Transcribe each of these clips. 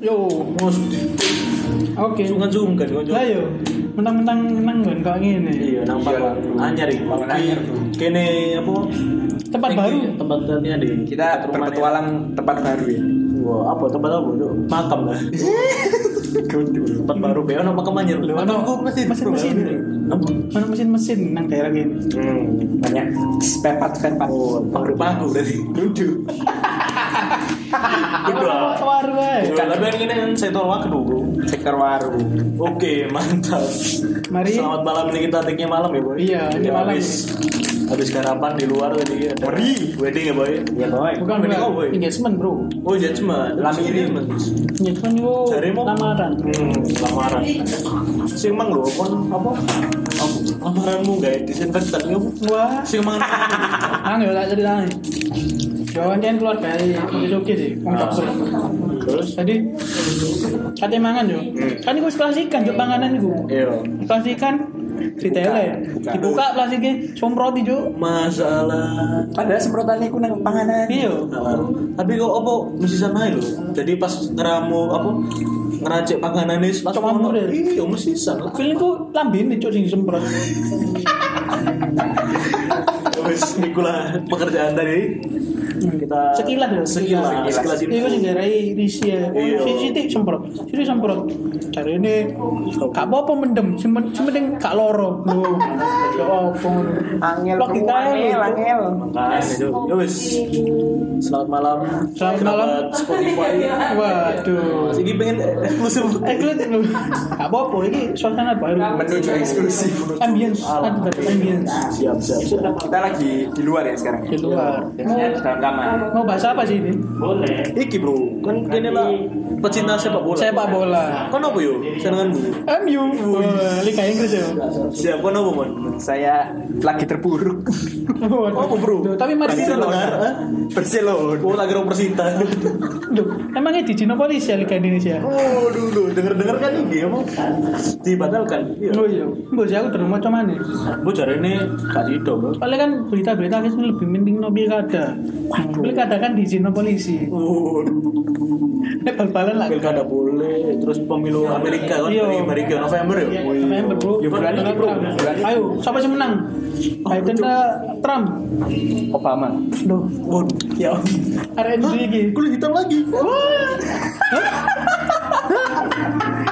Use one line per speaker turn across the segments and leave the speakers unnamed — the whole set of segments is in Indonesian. mus
Oke.
sungkan-sungkan
Lah
konco.
yo, mentang-mentang nang nggon kok ngene.
kan, Iya, nang
Iya,
Pak Anyar iki.
Pak Anyar, Bro.
Kene apa?
Tempat baru.
Tempat tempatnya di
Kita
rumahnya.
berpetualang tempat baru ya.
Wah, apa tempat apa? Cuk? Makam lah. tempat baru be ono makam Anyar.
Lho, ono mesin-mesin. Ono mesin-mesin nang daerah kene.
Hmm, banyak sepepat-sepepat.
Oh, baru baru berarti.
Duduk.
Gitu
Kudu ah.
Waru wae.
Kalau ben ini kan sektor waktu, Bro.
Sektor warung.
Oke, mantap.
Mari.
Selamat malam ini kita take malam ya, Boy.
Iya, ini
Ya,
malam.
Habis, habis garapan di luar tadi ada.
Meri.
Wedding ya, Boy.
Ya boy.
Bukan
Ini
bukan.
kau, Boy.
engagement, Bro.
Oh, judgement.
Lami ini.
Engagement yo
Jarimu?
Oh, lamaran.
Hmm, lamaran. Sing mang lho, kon apa? Apa? Lamaranmu gak disinfektan ya, Bu?
Wah,
Sing mang
anu yo tak ceritane. Yo anjen keluar dari oke sih, wong kapsul.
terus
Jadi kate mangan yo. Kan iku wis plastikan yo panganan iku.
iya.
Plastikan ditele.
dibuka.
ya. Dibuka plastiknya semproti yo.
Masalah
Padahal semprotan iku nang panganan.
Iya.
Nah, tapi kok apa mesti sama lho. Jadi pas ngeramu apa ngeracik panganan ini pas
Cuma
ngono.
murid.
Iya, mesti sama.
Film itu lambene cuk sing semprot.
Wes ikulah pekerjaan tadi. Kita
Hmm. Sekilas lho,
sekilas
sekilas.
sekilas ini.
Iku sing diarai risi ya.
Iya.
Sithik semprot. Sithik semprot. Cari ini gak apa-apa mendem, sing pen- sing penting gak loro. Loh. Yo opo ngono.
Angel
Logika ya,
keluar, angel,
Cuk.
angel.
Makanya, Cuk. Ya wes. Selamat malam.
Selamat malam.
Kerabat Spotify.
Waduh.
Ini pengen musim
Eklut lho. Gak apa-apa iki suasana baru.
Menuju eksklusif.
Ambience, ada ambience.
siap siap. siap.
Kita lagi di luar ya sekarang.
di luar.
Biasanya di dalam kamar.
Mau bahas apa sih ini?
Iki bro, kan kene lah pecinta sepak bola.
Sepak bola.
Kan apa yo? Senenganmu.
MU, Wah, Liga Inggris ya.
Siap kan apa, Mon?
Saya lagi terburuk.
Waduh.
Apa, Oh, bro?
Duh, Tapi mari kita
Barcelona.
dengar.
Hah?
Barcelona.
Oh, tak kira Persita.
Duh, emangnya di Cinopolis ya Liga Indonesia?
Oh, dulu denger-denger kan ini apa? Dibatalkan. Iya.
Oh iya, mbok sih aku dermo cuman nih.
Bu cari ini gak sido, Bro.
Oleh kan berita-berita kan lebih penting no pilkada. Pilkada kan di Cinopolis sih.
Oh,
Nek bal-balan lah.
pilkada boleh, terus pemilu Amerika kan
Iya.
dari Amerika November ya.
Iya, November bro.
Ya, bulan ini, bro. Bulan ini.
Ayo, siapa sih menang? Biden apa Trump?
Obama.
Duh,
Oh, ya.
RNG ini.
Kulit hitam lagi.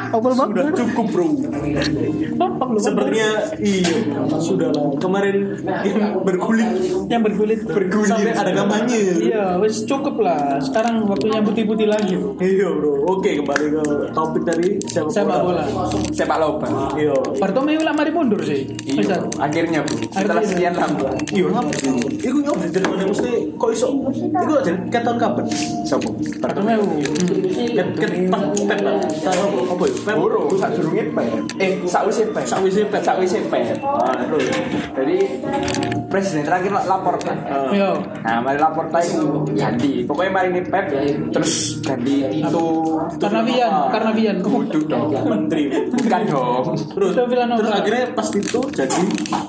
Apa lu bang?
Sudah cukup, Bro.
Apa lu, Bang?
Sepertinya iya, sudah lah. Kemarin yang berguling
yang berkulit
Bergulir.
sampai ada kampanye.
Iya, wis cukup lah. Sekarang waktunya putih-putih lagi.
Iya bro, oke kembali ke topik tadi sepak
Sepak bola.
Sepak lobang.
Iya.
Bartomeu lah mari mundur sih.
Iya.
Misal.
Bro. Akhirnya bu. Setelah
Akhirnya.
sekian lama.
Iya, ngapa? Iku nyoba dari mana mesti kok iso? Iku aja keton kapan?
Iya.
Sopo.
Bartomeu.
Ket ket pep pep lah. Tahu apa? apa ya? Pep.
Buru. Sak durungnya pep. Eh, sakwise pep.
Sakwise pep.
Sakwise pep.
Ah, terus.
Jadi presiden terakhir lah lapor kan.
Ah.
Yo.
Nah, mari lapor tayo ganti. Pokoknya mari ini pep terus ganti itu Ah.
Karnavian, Karnavian.
Kudu dong.
Menteri.
Bukan dong.
Terus,
Itu Villanova.
terus akhirnya pas itu jadi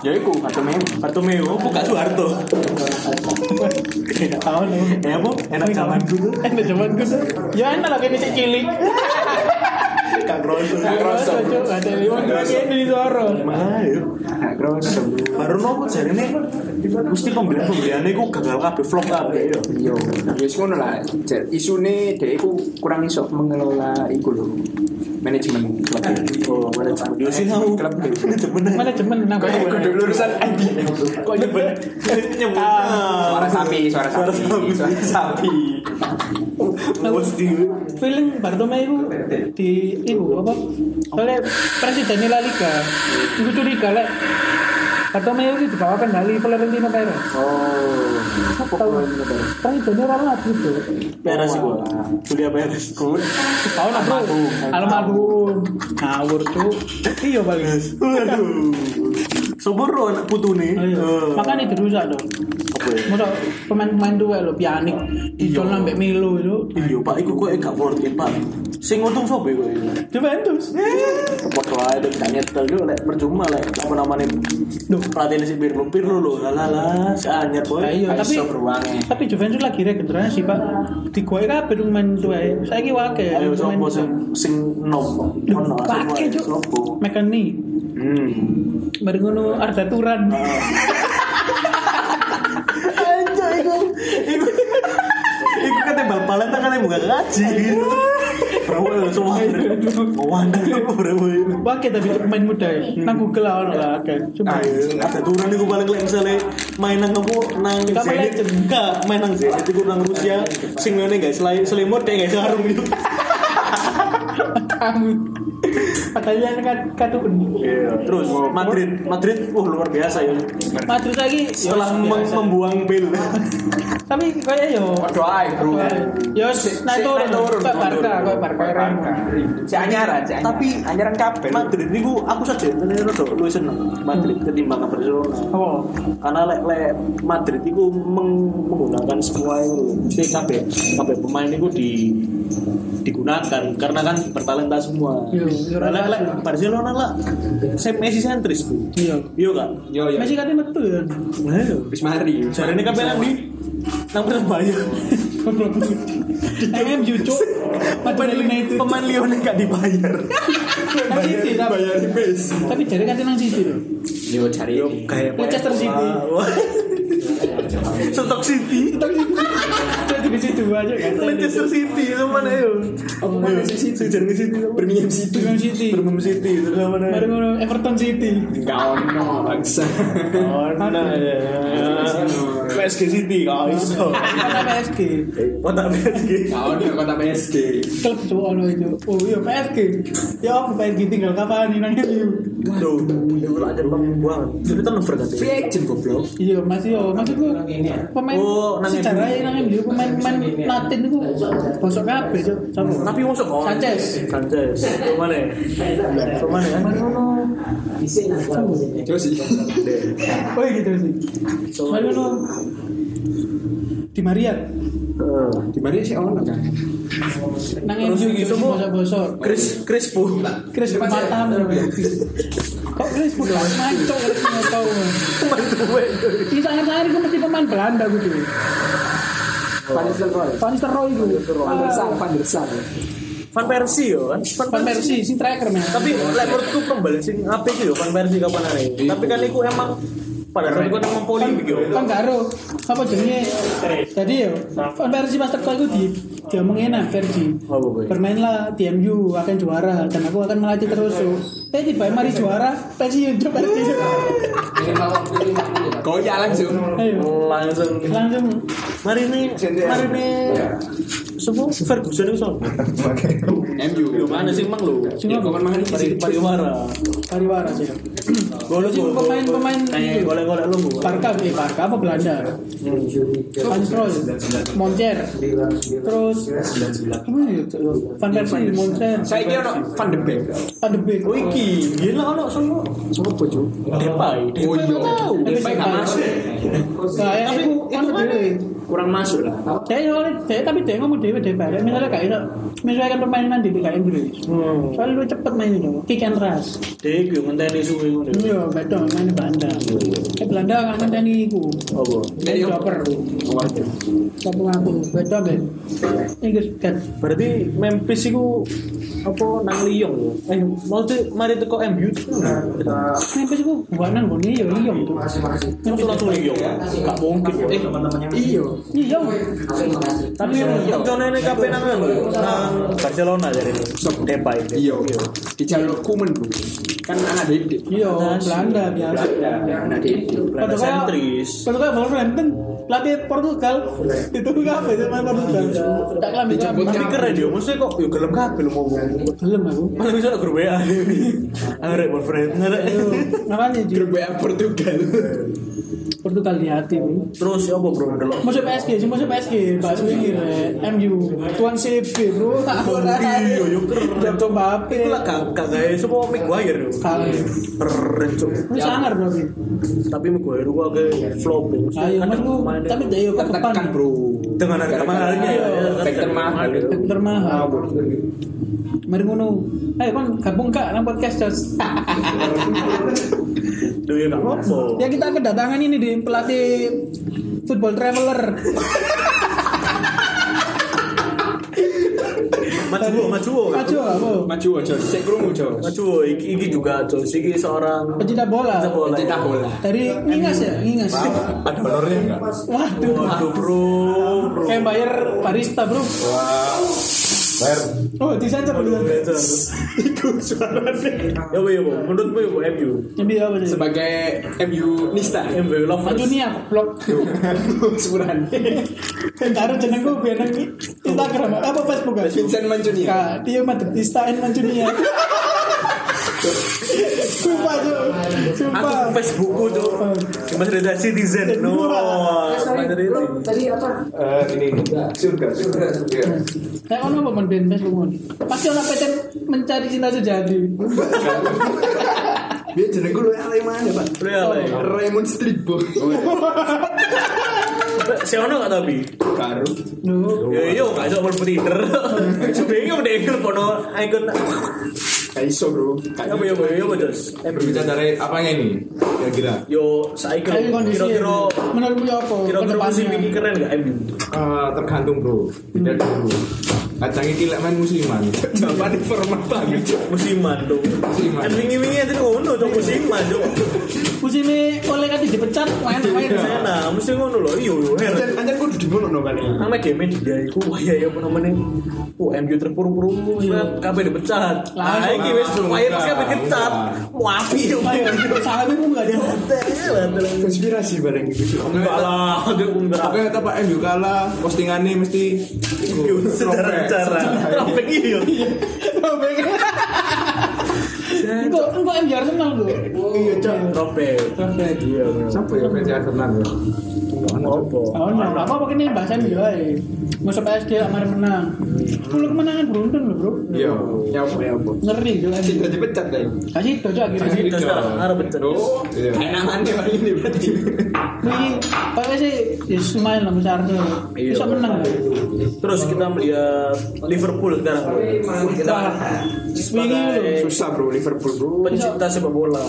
Ya iku Bartomeu.
Bartomeu Oh, buka Soeharto.
Tahu nih.
Eh apa?
Iya.
Enak zaman dulu.
Enak zaman dulu. Ya enak lah kene sik cilik.
Kak Rosso.
Gak kerasa.
Cuk. Ada liwat kene di suara.
Mahal ya.
Nah, terus
Baru nopo jadi ini mesti pembelian pembeliannya ku gagal kabeh flop kabeh ya.
Yo, Iya, wis ngono lah. Isu ini dia iku kurang iso mengelola iku lho. Manajemen klub.
Oh, mana cuman Yo sih tahu.
Klub B.
Cuman
Manajemen nang
Kayak iku dulu urusan ID. Kok nyebut
nyebut
Ah.
suara sapi, suara
Suara
sapi,
sapi.
suara sapi.
Mesti
Film Bartomeu itu di ibu apa? Soalnya presiden La Liga. Iku curiga lek Bartomeu itu dibawa kendali Florentino Perez.
Oh.
Tahu. Presidennya orang lagi tuh.
Peres gua. Julia Peres. Good.
Tahu lah bro. Almarhum. Ngawur tuh. Iya paling.
Waduh. Sobor lo anak putu nih.
Ayo.
Eh,
Makanya dirusak dong.
apa ya?
Masa pemain-pemain tua lo pianik. Idol nambah Milo itu.
ya, Iya, Pak, iku kok gak worth it, Pak. Sing untung sopo iku?
Juventus.
Kepot
aja gak nyetel juga lek percuma lek apa namanya
Duh.
pelatihnya si Pirlo Pirlo lo lalala si anyar boy
Lah iya, tapi
Iso beruangnya.
tapi Juventus lagi regenerasi sih pak. Di gue kabeh dong main tuai. Saya ki wake.
ayo sopo
main-
sing sing nom
Duh,
ono sopo,
Wake cuk.
sopo
Mekani.
Hmm.
Baru ngono Arda Turan.
Anjo iku iku iku kate bal-balan tak kate buka kaji gitu. Bro, semua wanda bro.
Wake tapi pemain muda. ya.
Hmm.
Nang Google lah ono lah. Oke. Cuma
Ah, iya.
Ada turun iku paling lek misale main nang apa nang
Kamu
Zenit
legend.
enggak main nang Zenit iku nang Rusia sing ngene guys selain selimut deh guys sarung itu.
kamu. Katanya kan kartu kuning.
Terus Madrid Madrid wah luar biasa ya.
Madrid lagi.
Setelah mem- membuang pil.
ya, Tapi ya, kaya yo.
Waduh, ay, bro.
Yo, nah
si-
turun,
naik turun.
kok Barca, kok Barca kan.
Si anyaran, si anyaran.
Tapi
anyaran kabel.
Madrid niku aku saja ngene rada luwih seneng Madrid ketimbang Barcelona.
Apa?
karena lek lek Madrid itu meng- menggunakan semua itu si KB KB pemain itu di digunakan karena kan bertalenta semua.
Iya, iya.
Nah, Lek lek Barcelona lah saya Messi sentris tuh.
Iya.
Iya kan?
Yo, yo.
Messi katanya metu ya.
Bis mari.
Jadi ini KB nang di nang Persebaya.
MM jucu. Madrid United.
Pemain Lyon gak dibayar.
Nang Kan City tapi.
Messi.
Tapi jare katanya nang City loh.
Yo cari.
Yo kayak
Manchester City.
Stok City.
Tapi Jadi di situ aja kan.
Manchester City itu mana yo? Apa Manchester City? Jangan City. Birmingham City.
Birmingham City.
Birmingham City itu mana? ya?
Baru
yo?
ngono Everton City.
Enggak ono bangsa.
Oh, nah, ya. PSG City Eh, kau iso.
Kata PSG.
Kota PSG.
Enggak ono kota PSG.
Klub cowok ono itu. Oh iya PSG. Ya aku PSG tinggal kapan nih nang MU.
Duh, itu lah aja bang buang. Itu kan over kan?
Free agent goblok.
Iya, masih yo. Maksudku pemain
Oh, nang
sejarah ya, nang MU pemain-pemain Latin itu bosok kabeh, Cuk. Sapa?
Tapi masuk kau.
Sanchez.
Sanchez. Itu mana? ya? Itu mana
kan?
ya?
Yo sih.
Oh iya gitu sih.
Cuk.
Baru lo di Maria
Eh,
Di mana sih ono kan?
nang MU
Terus
gitu
gitu,
sih
Bu.
bosok-bosok.
Chris Crispo.
Chris Matam. Kok Chris Matam mancok Chris Matam. Ini sangat-sangat gue mesti pemain Belanda gue tuh.
Van Nistelrooy.
Van Nistelrooy Ah, itu.
Van der Sar, Van der Sar.
Van Persie yo kan?
Van Persie, si striker men.
tapi lek menurutku kembali sing apik yo Van Persie kapan ae. Tapi kan iku emang pada saat iku emang poli iki yo.
kan karo apa jenenge jadi yo Van Persie Master Coach itu di dia mengenak versi
Apa boy?
bermainlah di MU akan juara dan aku akan melatih terus yo eh tiba mari juara pensiun coba pensiun
Goyak langsung.
ayo
Langsung
langsung
mari nih mari nih semua Ferguson itu sama.
MU.
Yo mana sih emang Iya, lo?
cuma
Kok kan mangan
Mari
iki
mari wara.
pariwara sih
Golek
Jadi pemain-pemain
eh
ini.
golek-golek lu. Bu.
Barca eh Barca apa Belanda Van Stroll Moncer terus apa ya, Van Persie Moncer
Saya kira ono Van de Beek.
Van de Beek
Oh iki gila ono semua.
Sopo, Cuk?
Depay.
Oh
Depay
iya.
nggak tahu.
Depay nggak masuk.
Nah, ya,
Tapi
itu
itu
kan
mana?
dewe.
Kurang masuk lah.
Dia ya oleh dia tapi dia ngomong dewe dia balik. Misalnya kayak itu, misalnya kan permainan di Liga Inggris.
Hmm.
Soalnya lu cepet main itu, kick and rush.
Dek yo ngenteni suwe ngono.
Iya, betul main di Belanda. Eh Belanda kan kan tadi iku.
Apa?
Ya,
Dari
iya.
Joper. Satu ngaku, betul ben. Inggris kan.
Berarti Memphis itu apa nang Lyon ya? Eh, maksudnya mari teko MU. Nah,
Memphis iku buanan gone ya Lyon tuh.
Masuk langsung Lyon. Enggak mungkin. ya. Eh,
Iya.
Lyon.
tapi
iya,
yang contohnya ini kape nang anu, nang Barcelona jadi ini. Depay.
Iya. Di jalur kumen, Bro. Kan anak didik.
Iya, Belanda biasa.
Anak didik.
Belanda
Padahal-
sentris.
Kalau kayak Wolverhampton, pelatih Portugal itu apa itu main Portugal? Tak kelambi kelambi.
Tapi keren dia, maksudnya kok yo gelem kabeh lu ngomong.
Belum aku.
Malah bisa grup WA. Angger boyfriend. Anggrek.
Makanya Ju.
Grup WA Portugal.
Portugal di hati Bu.
Terus ya apa bro ndelok?
Musuh PSG, sih musuh PSG, Pak Suwir, MU, Tuan CP bro, tak ora tadi.
Iya, yo keren.
Jam coba
Iku lah
apa?
gak gak gawe semua Maguire yo.
Kalah.
Keren cuk.
Ini sangar berarti.
Tapi Maguire gua agak flop. ya.
Ayo,
Kadang main
mas, Bu.
Barcelona
tapi dia
kan
yuk ke depan
tertekan bro
Dengan harga
Gara-gara
mahalnya ya.
factor mahal
Back
Ah,
termahal mari ngono ayo kan gabung kak nang podcast Jos.
Duh, ya nggak apa-apa.
ya kita kedatangan ini di pelatih football traveler
Majuwo, majuwo.
maju aku
maju aja sik krungu aja
Majuwo iki iki juga Jos, iki seorang
pecinta bola
Pecinta bola.
cinta bola
dari ngingas ya ngingas
Ada honornya enggak?
waduh
Waduh, bro, bro.
kayak bayar barista bro
Wow. Bayar.
oh disensor
Aduh,
dulu
Jos. Itu suaranya. Ya, Bu, ya, Bu. menurutmu ya, Bu, MU.
jadi apa sih
sebagai MU Nista
MU lovers.
Maju nih aku blog
Sebulan
Bentar jenengku biar nang Instagram apa Facebook guys
Vincent
Iya.
Mancunia
Kak, dia Madridista and Mancunia. Sumpah, Cuk.
Aku
Sumpah. Iya.
Facebookku, Cuk. Mas Reza Citizen. No. Mas Reza.
Eh, ini ini. surga surga. Iya.
Kayak ono apa band Facebook mon? Pasti ono PT mencari cinta sejati.
Dia jeneng gue Reman ya pak.
Lu ya, Le.
Raymond Stribo.
Si Ono nggak tapi?
baru
Duh.
Ya iya nggak bisa mlebu Tinder. Bingung deh "Ah, ikut kono ikon.
iso bro
Ya Bu, ya Bu, ya Bu, Jos.
Eh,
Berbicara dari apanya ini? Kira-kira.
Yo saiki
Kayak kondisi.
kira-kira
Menurutmu ya apa?
kira-kira musim
Kedepannya.
ini keren nggak MU?
Eh, tergantung bro. Tidak dulu. Kacangnya tidak main musiman.
jawaban formal banget Cuk.
Musiman tuh.
Musiman.
Kan wingi-wingi aja ngono tuh musiman tuh.
Musim ini oleh kan dipecat, main main sana.
Nah, mesti ngono loh. Iya yo her.
Anjan anjan gue di ngono no kan ini.
Nama dia media iku wah ya ya apa namanya? Oh, MU terpuruk-puruk, kabeh dipecat.
Langsung.
Lah iki wis wae pas kabeh dipecat. Wah, api yo
Main. Salamnya pun nggak ada.
Iya.
Konspirasi bareng gitu.
Enggak lah, dia enggak.
Oke, kata Pak MU kalah, postingannya mesti
Yo sederhana. Tropik iyo.
Engkau engkau MJ Arsenal tuh.
Iya, Cok.
Tropik. Iya.
Siapa ya fans Arsenal ya?
Opo.
Oh, nah, apa apa ini bahasan dia? Musuh PSG kemarin menang. 10 kemenangan beruntun loh bro.
Iya. Ya apa ya apa.
Ngeri tuh MU.
Cinta dipecat deh
Kasih itu aja akhirnya.
Jadi terus sekarang arep bener.
Iya.
kayak namanya kali ini berarti
Ini pakai sih ya lumayan lah besar tuh.
Iya.
Bisa menang. lah.
Terus kita melihat Liverpool sekarang. Kita
Wah, Wingi
sebagai
loh.
Susah bro Liverpool bro.
pencinta sepak bola.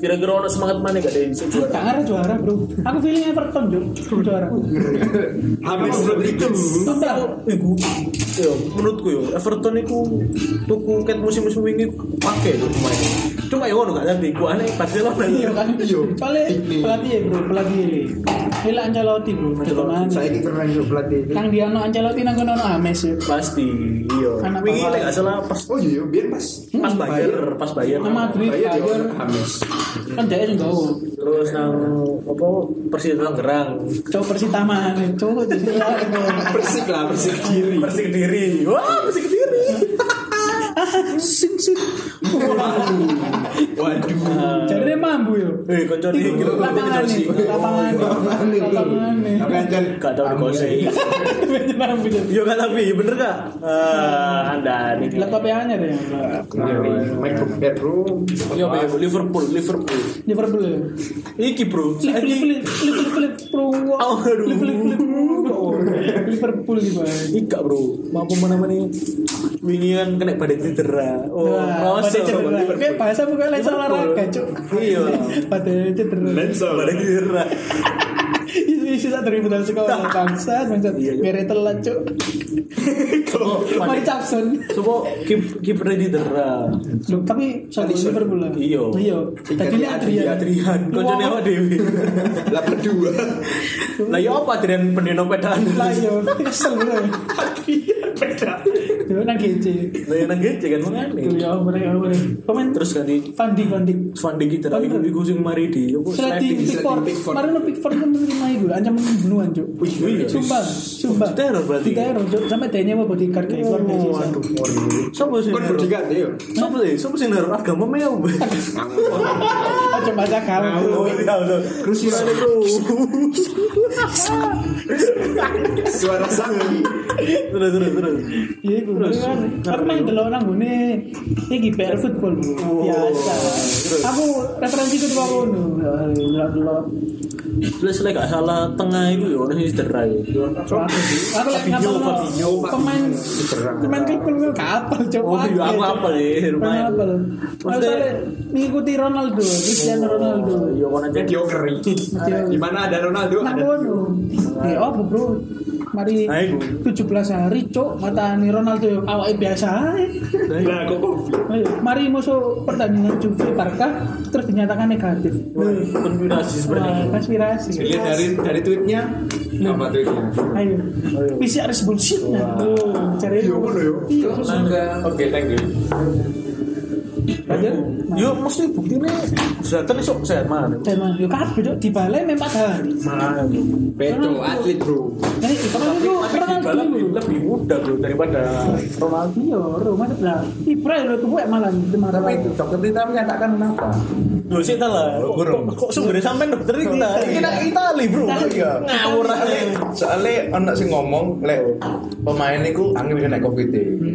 Kira-kira ono semangat mana gak ada yang bisa juara?
Gak ngarah juara bro. Aku feeling Everton bro. Juara.
Habis begitu.
Sumpah.
Iku, yo, menurutku yo, Everton itu tuku ket musim-musim ini pakai tuh pemain. Cuma ya ono gak ngerti, gua aneh Barcelona.
Iya kan?
Iya.
Soalnya
Ini.
pelatih ya bro, pelatih. Ini lah Ancelotti bro. Ancelotti.
Saya ini keren bro pelatih.
Nang dia no Ancelotti nang kono no Ames ya.
Pasti, iya.
Anak
Wingi
bawah.
nek gak salah pas
Oh iya, biar mas.
Hmm,
pas bayar, pas bayar.
Nang Madrid,
Bayar ya
Bayern.
orang Hamis.
Kan dia juga oh.
Terus nang apa Persib Tangerang.
Cowok Persita mana? Cowok di sini lah, bro.
persik lah persik kiri
Persik Kediri. Wah, Persik Kediri.
Sing sing.
waduh
Jadi dia mampu yo.
Eh, koncone iki
Iku lapangan nih, lapangan nih, lapangan nih.
Tapi Anjan
Gak tau dikosei
Bener mampu yo.
Yo gak tapi bener gak? Eh, Anda nih.
Laptop yang anyar ya.
Micro bedroom.
Yo Bang, Liverpool, Liverpool.
Liverpool ya.
Iki bro.
Flip flip
saiki-
flip flip flip flip pro.
Aduh.
Flip flip flip. Liverpool sih bang.
Ika bro, mampu mana mana Wingi kan kena pada cedera. Oh,
Wah, pada
masa
Nah, cedera. Kayak bahasa bukan lensa
Liverpool.
olahraga, cuk.
Iya.
Pada cedera.
pada cedera.
Isi tak terima dalam sekolah bangsa, bangsa.
Iya, iya.
Biar telat, cuk. Mari Jackson.
Coba keep keep ready cedera.
Loh, tapi satu Liverpool lah.
Iya.
Iya. Tadi ini Adrian.
Adrian,
Lu
koncone
apa?
awak dewi.
Lah berdua.
Lah yo apa Adrian pendino pedaan?
Lah iya, kesel bro.
Adrian pedaan.
Itu nang GC.
Lah yang nang gece kan
Itu
mangane.
ya, bener ya, bener. Komen terus
Terus ganti
funding funding.
Van Dijk cedera
Bener.
iku iku sing mari di ya opo
Sliding Pickford.
Pickford.
Kemarin lo Pickford kan menerima itu ancaman pembunuhan, Cuk.
Wih, wih.
Sumpah, sumpah.
Oh, diteror berarti? Oh,
Diteror, Cuk. Sampai tanya apa bodyguard kayak keluar dari sisa.
Waduh. Sopo sing
Kan
neror?
berdikat ya.
Sopo sih? Sopo sing neror agama meo.
Oh, aja bahasa kamu.
Oh, iya,
Krusial bro. Suara sapi.
terus terus terus
Iya, gue kan. Aku main dulu nang gune. Iki PR football
Oh,
bro. Biasa. Aku referensi ke tukang ngono. Delok delok.
terus lek gak salah tengah itu ya orang sing cedera ya
Aku aku lagi ngapal no. pemain pemain klub klub kapal coba.
Oh, iya, aku apal ya, lumayan.
Kapal.
Maksudnya- Oh,
Maksudnya mengikuti Ronaldo, Cristiano Ronaldo.
ya kan aja
Mediocre. Di mana ada Ronaldo?
Nah,
Ada.
ngono. Ya eh, apa, Bro? Mari
Nah, iku.
17 hari, Cuk, matani Ronaldo awake biasa ae.
lah kok
Ayo, mari musuh pertandingan Juve Barca terus dinyatakan negatif.
Nah. konspirasi seperti
Wah,
itu
konspirasi.
Dilihat dari dari tweetnya.
Nah.
Apa tweetnya?
Ayo. PCR is bullshit nah. Tuh, cari
Iya,
dulu.
ngono yo.
Iya,
Oke, thank you.
lanjut yuk mesti bukti nih kesehatan esok sehat mana
Dan mah, yo kabeh Cuk, dibalai memang hari.
mana Bro?
Beto atlet bro.
Nah, itu kan itu
tapi di balap
Ronaldo.
lebih- lebih mudah bro daripada
Ronaldo yo, Ro, maksud lah. Ibra yo eh, tuwek malah demar.
Tapi dokter Tita menyatakan kenapa?
Loh sih lah.
Loh, kurang.
Kok, kok sumbernya sampai dokter ini lah. Ini nak Itali bro.
Iya.
Ngawur aja.
Soalnya anak sing ngomong lek pemain niku angin kena covid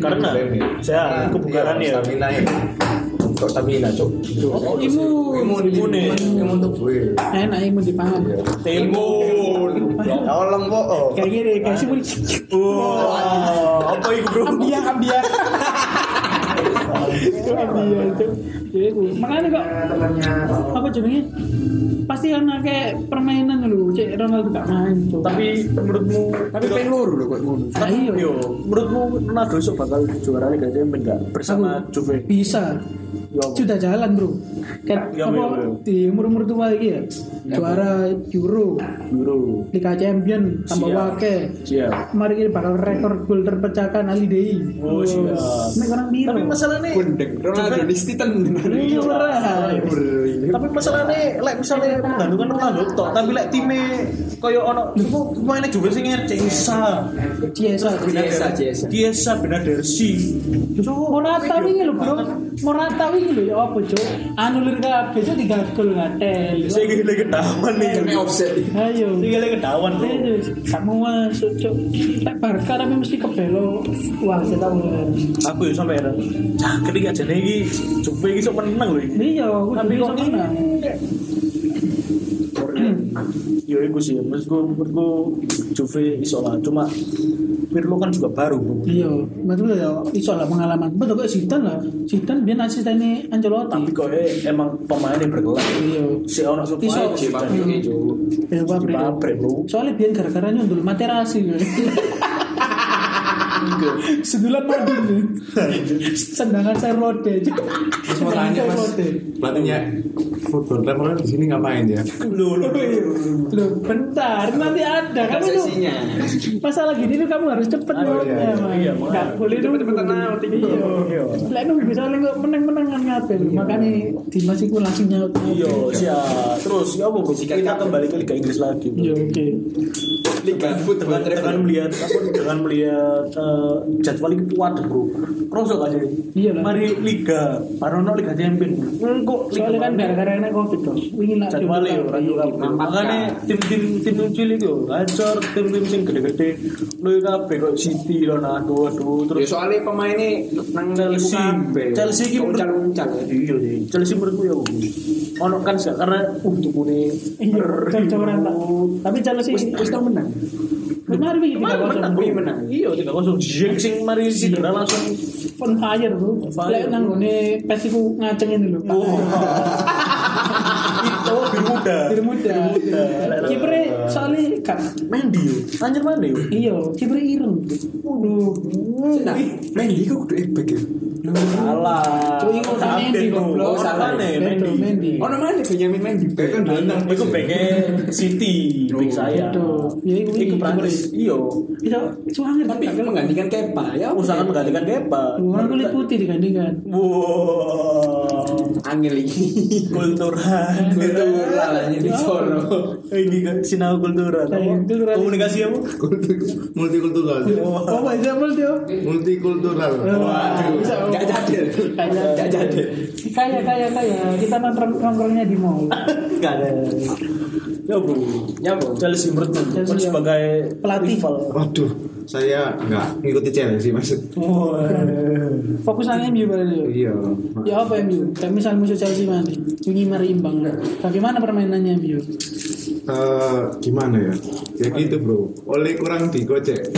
Karena sehat, kebugaran ya.
ya. Ah, Stamina ya. Kok stamina cok.
Oh, imun.
Imun
Imun,
imun
ya.
imun tubuh. ya.
Enak imun dipangan. Iya.
Iya.
Temu.
Ya Allah kok. oh.
Kayak gini, kayak sih
Wah, apa itu bro?
Ambia, ambia. Itu ambia itu. Jadi gue- makanya kok apa jenenge? Pasti karena kayak permainan lu, cek Ronaldo gak main. Cuk.
Tapi menurutmu
Tapi pengen lur lho kok ngono.
Nah, iya.
Yo, menurutmu Ronaldo esok bakal juara Liga Champions enggak bersama
Aku-
Juve?
bisa.
Yo.
Sudah jalan, Bro. Kan
Iya, iya,
apa
iya.
di umur-umur tua iki ya. Juara Euro,
Euro.
Liga Champion tambah
Siap.
wake.
Siap.
Kemarin ini bakal rekor gol terpecahkan Ali Dei.
Oh, siap.
Mek orang biru.
Tapi masalahnya
Kundek Ronaldo di Titan.
Iya, berat.
tapi masalahnya lek misalnya menggantungkan Ronaldo tok tapi lek time koyo ono semua pemainnya Juve sing ngecek Isa
Ciesa.
Biasa biasa.
Kiesa Benadersi
Morata wingi lho, Bro. Morata wingi lho ya apa, Cuk? Anulir kabeh Cuk, tiga gol ngatel.
saya gini lagi ketahuan nih
Ini offset.
Ayo.
saya gini ketahuan bro
Ayo, Kamu masuk, Cuk. Tak Barca tapi mesti kebelo. Wah, saya tahu.
aku ya sampe heran cakep ya, iki aja nih Juve iki sok menang lho iki
Iya, aku
tapi
juga
kok
bisa menang.
ini Yo iku sih, menurutku menurutku Juve iso lah. Cuma Pirlo kan juga baru, bro.
Iya, betul ya. Iso lah pengalaman. Betul kok Zidane lah. Zidane biar asistennya
Tapi
Ancelotti.
kok eh, emang pemainnya bergelar.
Iya.
Si ono supply
Iso.
si Juve.
Ya, gua
Di
Bro.
pabrik, Bro.
Soalnya biar gara-gara nyundul materasi. Bro. Sedulan madin nih. Sendangan saya rode.
Mas mau
Sendangan
tanya mas,
saya rode.
Pelatihnya ya, football level di sini ngapain ya?
Loh, loh, loh.
Loh, bentar nanti ada
Kan
kamu tuh.
sesinya.
Masalah gini tuh kamu harus cepet
Aduh,
jawabnya,
iya,
Mas.
iya, makanya.
Nggak boleh dong
Cepet-cepetan naon, tinggi.
Iya.
Iya. Lah nunggu soalnya kok menang-menangan ngabel. Makanya Dimas iku langsung nyaut.
Iya, siap. Terus ya apa bro? Kita kembali ke Liga Inggris lagi. Bro.
Iya, oke.
Liga
Iya.
football
Dengan, dengan melihat apa dengan melihat eh, jadwal ini kuat bro. Krosok aja.
Iya lah.
Mari Liga, Parono Liga Champion. Enggak,
Soalnya kan gara-gara enak covid dong. Wingin lah.
jadwal ya
dibuka.
orang juga.
Iya.
Makanya tim-tim tim kecil itu gacor, tim-tim sing gede-gede. Lu ya kabeh kok City lo nah aduh aduh
Ya
terus
Iya,
soalnya pemainnya nang
Chelsea, Chelsea
Chelsea
ini
ini
menurut-
uncal-uncal.
ya,
Iya sih. Chelsea menurutku ya bro. Ono kan sih, karena untuk ini
Iya, cocok-cocokan tak. Tapi Chelsea
Wis wis tau menang.
kemarin bikin tiga
Kemarin menang,
kosong.
bro.
Wih, menang.
Iya, tiga kosong. Jack sing mari sih, langsung.
On fire bro.
fire. Oh,
Lek nang ngone pes iku ngacengin lho.
Itu biru muda.
Biru muda. Kipre soalnya gak
Mendi, yo. anjir Mendi. yo.
Iya, kipre ireng. Waduh.
Nah, Mendy kok kudu ebek ya.
Salah.
Cuy, iku tak
Ah, Update,
Mendy,
bro.
goblok.
Oh, salah nih,
Bedo
Mendi.
Mendy.
Oh namanya Benjamin Mendy.
Nah,
Kan berenang.
Iku pengen City,
Oh,
big saya.
betul. Ya,
Iku
iku iki,
Prancis. Iya.
Itu suangir
Tapi menggantikan Kepa ya.
Usahakan menggantikan Kepa.
Orang kulit putih digandingkan.
Wow.
angel iki.
kultural
Kultural aja di Solo.
ini kan sinau kultural
Eh, kultural.
komunikasi apa
Kultur- multikultural
Oh, apa example dia?
multikultural
Waduh,
Bisa,
gak jadi.
Kayak-
Gak jadi.
Kaya kaya kaya kita nongkrong nongkrongnya di mall.
Gak ada ya bro
Nyambung.
Chelsea Merton
Chelsea,
kan
ya.
sebagai
Pelatih.
rival.
waduh saya nggak ngikuti Chelsea maksud
Wah.
Fokusnya MU pada dia.
iya
Ya apa MU? Kayak misal musuh Chelsea mana? Ini mari imbang nggak? Bagaimana permainannya MU?
Eh, gimana ya ya gitu bro oleh kurang digocek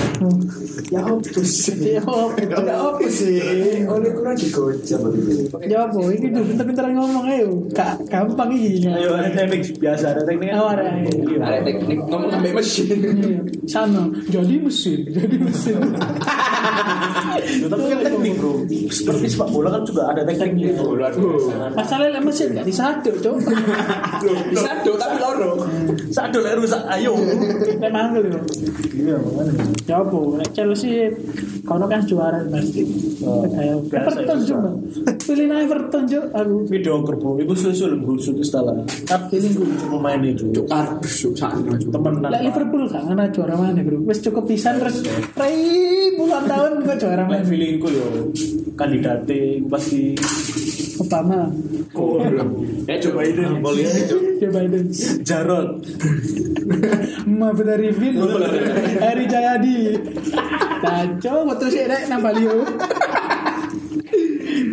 Ya apa sih?
Iya.
Jawab,
Ya apa sih? Oleh kurang digocap gitu.
jawab boy. Ya Ini tuh pintar-pintar ngomong ayo. Kak, gampang ini.
ayo ada teknik biasa ada teknik
Oh, ada.
Iya.
Ada teknik ngomong sampai mesin.
Iya. Sana. Jadi mesin, jadi mesin.
tapi kan teknik bro seperti sepak bola kan juga ada tekniknya
Luar biasa.
Masalahnya mesin nggak disaduk cok.
Bisa dong tapi loro.
satu lek rusak ayo
Nek manggil yo.
iya
Ya apa? Nek Chelsea kono kan juara pasti.
Oh.
Kayak Everton
Biasa,
cuma. Pilih Everton cok. Aku
video kerbau itu susul busuk istilah tapi ini gue cuma main itu
Kardus sana juga.
temen
Lah Liverpool gak ngana juara mana bro Wes cukup pisan terus
Iya.
Ribuan tahun kok juara
Lek
mana
feelingku yo kandidatnya pasti Ya,
Obama
Eh coba itu.
politik
Joe Biden
Jarot
Mahfud Arifin Eri Jayadi Kacau Waktu sih Rek nambah liu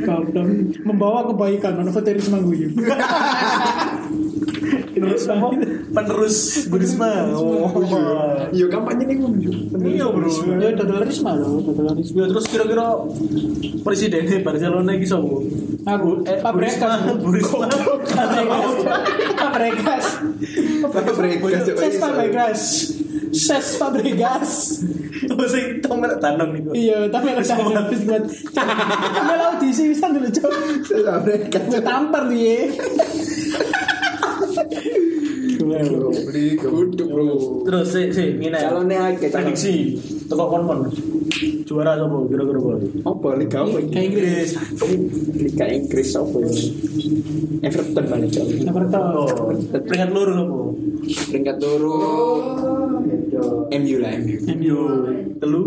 Goblok Membawa kebaikan Ono Fateri Semangguyu
terus apa? penerus Burisma oh iya.
Yo kampanye nih ngomong.
iya bro
Ya Dodol Risma loh Dodol Risma
Ya, terus kira-kira presidennya Barcelona iki sapa?
Aku
Eh,
Pabrekas
Burisma.
Pabrekas Pabrekas
Fabregas, coba
Ses
ini,
Fabregas Ses Fabregas
Oh sing Tom Tanom niku.
Iya, tapi ada yang habis buat Ambil audisi bisa dulu cok
saya mereka
Gue tampar dia
beli kudu bro
Terus sih sih ngene.
Calonnya akeh, calon.
prediksi teko kon-kon. Juara sapa kira-kira bro?
Apa liga apa ini?
Kayak Inggris
Liga Inggris apa ini? Everton mana coba?
Oh,
Everton
peringkat loro sapa?
Peringkat turu. MU lah MU.
Yo, telu.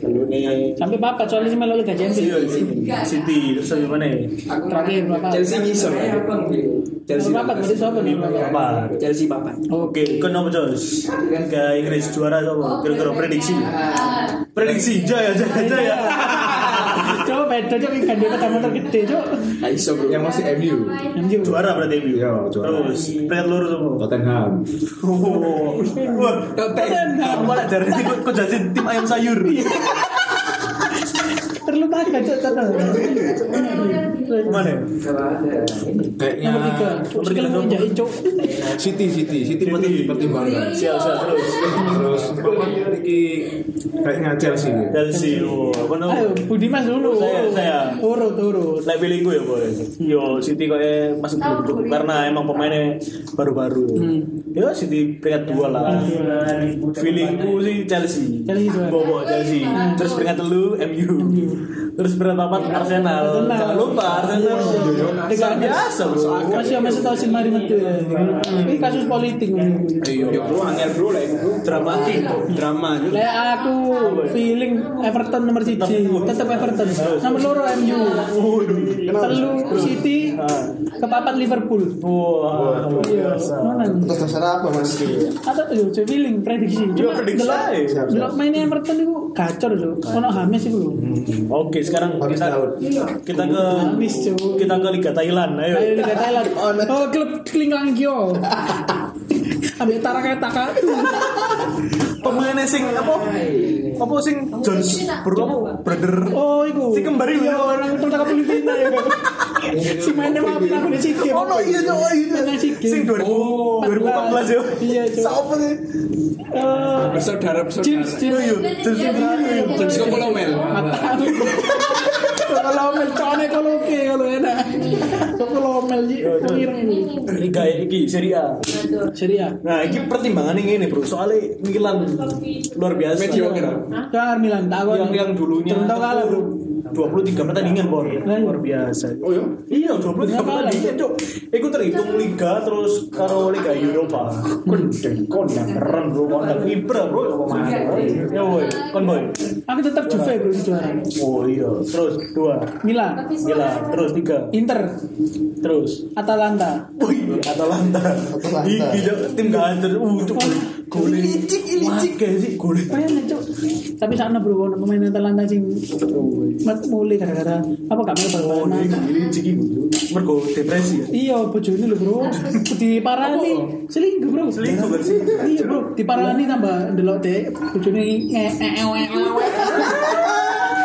Lalu nih
Sampai papat soalnya sih melo Liga Champions
City terus sampe mana?
Terakhir bapak
Chelsea ngisor ya. Chelsea
Bapak berarti siapa nih bapak
Apa?
Chelsea papan.
Oke, kenapa Jos? Liga Inggris juara sapa? Kira-kira prediksi. Prediksi jaya
Iya.
jaya jaya.
ya? Coba beda coba ikan dia pertama tergede cok
Nah, iso bro.
yang masih MU
Anjing.
Juara berarti MU.
Iya, juara.
Terus peringkat loro sapa?
Tottenham
Iya.
Oh, wah,
Tottenham.
Malah dari sini kok kok jadi tim ayam sayur.
Terlupakan cok Tottenham.
Mana?
kayaknya
Nomor tiga
Nomor tiga,
Sekarang
nomor-
menjadi cok
City City City penting pertimbangan
Sial, sial terus.
terus apa iki kayaknya Chelsea nih
Chelsea, oh, apa nama?
Ayo, Budiman dulu.
Saya, saya.
Urut, urut.
Lah pilih gue ya boy. Yo City kok eh masuk dulu karena emang pemainnya baru-baru.
Hmm.
Yo City peringkat dua lah. Feelingku sih Chelsea.
Chelsea juara.
Bobo Chelsea. Terus peringkat telu MU. Terus peringkat empat Arsenal. Iya,
Arsenal.
Jangan lupa Arsenal. Dengan biasa bro.
Masih sama setahu si Mari Metu. Ini kasus politik. ini.
Yo bro angel bro lah bro.
Dramatik. Drama.
Lah aku feeling Everton nomor siji, tetap Everton. Nomor loro MU. Telu City, kepapat Liverpool.
Wah.
Iya, nonan.
Terus terserah apa mas?
Atau yo coba feeling prediksi.
Yo prediksi. aja.
Delok mainnya Everton itu gacor lho. Ono Hames iku lho.
Oke, sekarang kita kita ke
Habis, cuy.
kita ke Liga Thailand. Ayo.
Ayo Liga Thailand. Oh, klub Klinglang Kyo. Ambil taraka takatu.
Pemainnya sing apa? Apa sing Jones
Iya.
bro apa? Brother. ya,
Oh, iku.
Si kembar iku.
Iya, orang pertama Filipina ya. kan. Si mainnya mau pindah ke Siki.
Oh no iya no iya.
Menang Siki.
Sing 2000
Oh,
2014 yo.
Iya, cok.
Apa sih?
Eh,
Bersaudara bersaudara.
James, James.
Yo Jones
James kok kalau mel.
Matamu. Kalau mencone kalau oke kalau enak. Kalau mel pengirang.
Liga iki Serie A.
Seria.
Nah, iki pertimbangannya ngene, Bro. Soalnya Milan luar biasa.
Mediocre.
Jangan Milan Ya, tak
Kan Yang yang dulunya
Contoh kalah, Bro.
23 pertandingan por
Lah, iya.
luar biasa
Oh ya?
iya 23
Kenapa lah?
pertandingan cok itu terhitung liga terus karo liga Eropa
Kondeng, kondeng,
keren bro kontak ibra bro ya boy ya boy kon boy
Aku tetap Juve bro di juara.
oh iya terus dua
Milan,
gila terus tiga
Inter,
terus
Atalanta.
Wih, Atalanta. Iki Cok, tim gak hancur. Uh, cuk. Gol licik, licik gak sih? Gol.
Pengen cuk. Tapi sana bro ono pemain Atalanta sing mat mulai gara-gara apa gak main bal
Licik iku. Mergo depresi ya.
Iya, bojone lho, Bro. Diparani selingkuh, Bro.
Selingkuh kan sih?
Iya, Bro. Diparani tambah ndelok dek bojone ngeewe.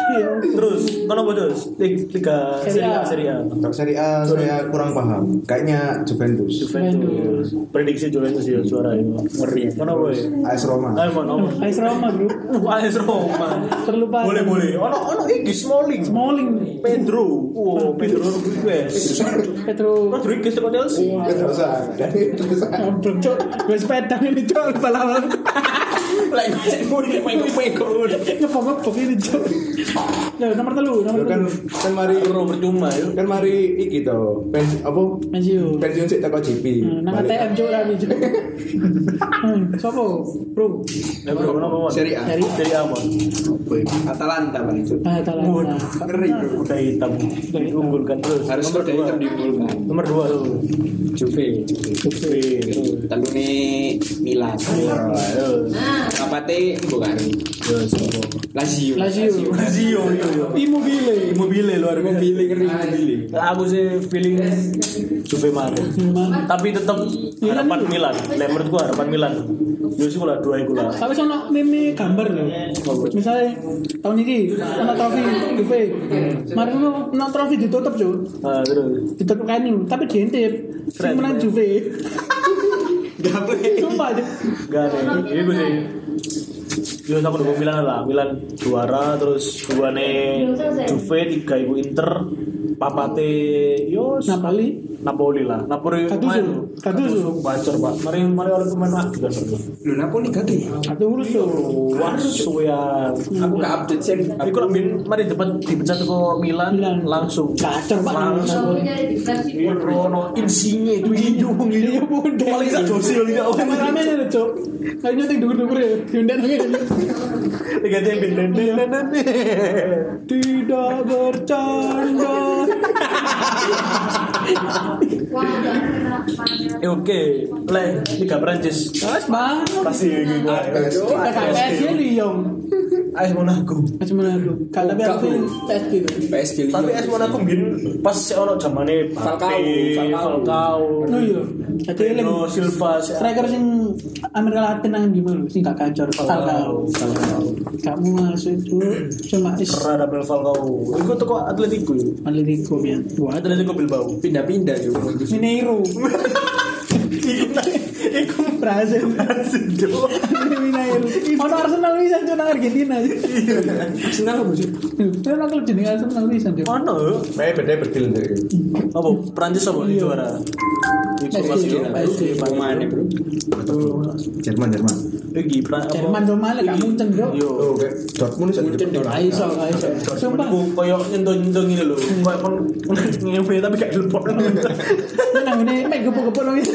Iya.
Terus, kono apa terus? Lig- Liga
Serie A.
Serie A, Serie A.
Untuk Serie A saya kurang paham. Kayaknya Juventus.
Juventus. Prediksi Juventus ya juara itu. Ngeri. Kono boy.
AS Roma.
Ayo mon, apa?
Ais Roma, Bro.
Uh, AS Roma.
Terlupa.
Boleh, boleh. Ono ono iki Smalling.
Smalling.
Pedro. Wow, Pedro Iya. Rodriguez.
Petro.
Rodriguez tekan Chelsea.
Terus terus
Goblok, Cuk. Wes pedang ini, Cuk. Balapan.
Lek cek muni pego-pego.
Ngepok-ngepok ini, Cuk. Loh, nomor telu, nomor
kan
telu.
kan mari
Pedro percuma yuk.
kan mari iki to. Pens apa?
Masih.
Pensiun sik teko GP.
Iya,
Nang ATM Cuk ra Cuk. Hmm, Sopo? Bro.
Ya, bro, kono apa, Mon?
Serie A.
Dari
Serie A, Mon.
Atalanta paling Nah, itu.
Ah, tahu.
Waduh, ngeri bro. Kuda hitam diunggulkan terus.
Harus
nomor
kuda
dua.
hitam diunggulkan.
Nomor dua tuh.
Juve,
Juve.
telune Milan. Apate bukan Lazio.
Lazio.
Lazio, yo yo.
Immobile.
Immobile ya, luar biasa. Ah, iya.
Mobil ngeri mobil.
Aku sih feeling Juve mati.
Gimana?
Tapi tetap harapan Milan. Lah menurut gua harapan Milan. Yo sih lah dua iku lah.
Tapi sono meme gambar loh. Misalnya tahun ini ono trofi Juve. Mari ngono ono trofi ditutup, Cuk.
Nah, terus.
Ditutup kayu, tapi diintip. Sing
Keren,
menang
ya.
Juve. Sumpah, Cuk.
Gak ada. Ini gue sih. Yo aku dukung Milan lah. Milan juara terus dua nih Juve tiga ibu Inter. Papate yo
Nah, Napoli.
Napoli lah. Napoli
Gattuso.
main.
Gattuso.
Bacor, Pak. Mari mari oleh pemain lagi kan.
Lu Napoli kaki.
Atau urus tuh.
Wah, suya.
Aku gak update sih.
Iku lah bin mari depan dipecat ke Milan,
Milan.
langsung.
Gacor, Pak.
Langsung. Ono insinya itu hidung
Iya, bunda.
Paling gak dosi paling gak
Kamar rame ya, Cuk. Kayak nyeting dukur-dukur ya. Diundang
Tiga tempe.
iya. Tidak bercanda.
Eh, Oke, leh tiga Prancis.
Terus, Bang.
Pasti ya, gitu. ini gue.
Kita kayak PSG Lyon.
AS Monaco.
Aja mana aku? Kalau tapi aku pilih PSG tuh.
PSG
Tapi AS Monaco bin pas sih ono zamane
Falcao,
Mbappe,
Falcao.
Falcao.
Oh iya. Jadi eling
Pedro Silva si-
striker sing Amerika Latin nang di mana? Sing gak kacor. Falcao. Kamu masuk itu cuma is
Radamel Falcao. Iku tuh kok Atletico. ya?
Atletico ya. Buat
Atletico Bilbao.
pindah-pindah juga.
Mineiro.
Iku
Brazil.
sedih.
Mineiro. Iya. Ono Arsenal bisa cuy nang Argentina.
Arsenal apa sih?
Itu nang klub jenenge Arsenal bisa cuy.
Ono ya?
Saya beda berdil dari.
apa Prancis apa
Iya.
juara? Iku
PSG,
masih
PSG.
Pemainnya bro.
Jerman Jerman.
Iki Prancis.
Jerman tuh malah gak muncen bro.
Yo.
Oh, kayak Dortmund bisa
Muncul
di-
dong.
Ayo so, ayo so. Sumpah.
Aku koyo nyentong-nyentong ini lho. Koyo kon ngewe tapi gak dilepok.
Nang ini mek gepuk-gepuk nang ini.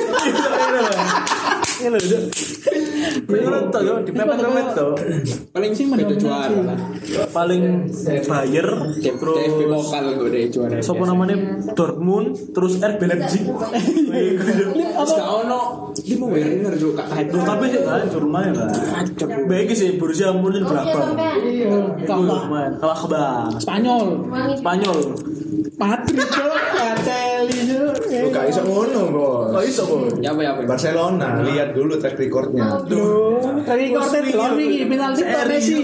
Ya lho. Dok. Bener tuh yo di pepet tuh.
Paling
Sing
sih beda
mendominasi.
juara lah.
Paling Bayer
Terus
terus
lokal gue deh juara.
siapa namanya Dortmund terus RB Leipzig.
Lip
Terus
apa?
gak ono. ya, Dia mau Werner juga kaki.
Duh, tapi sih ya, hancur main lah. Baik sih Borussia Munchen berapa?
Iya. Kalah.
Kalah kebang.
Spanyol.
Spanyol.
Patrick cok, Kateli cok.
Lu gak bisa ngono bos.
Oh iso kok.
Ya apa ya apa.
Barcelona lihat dulu track recordnya.
Loh, tadi konten lawan iki penalti kok Messi.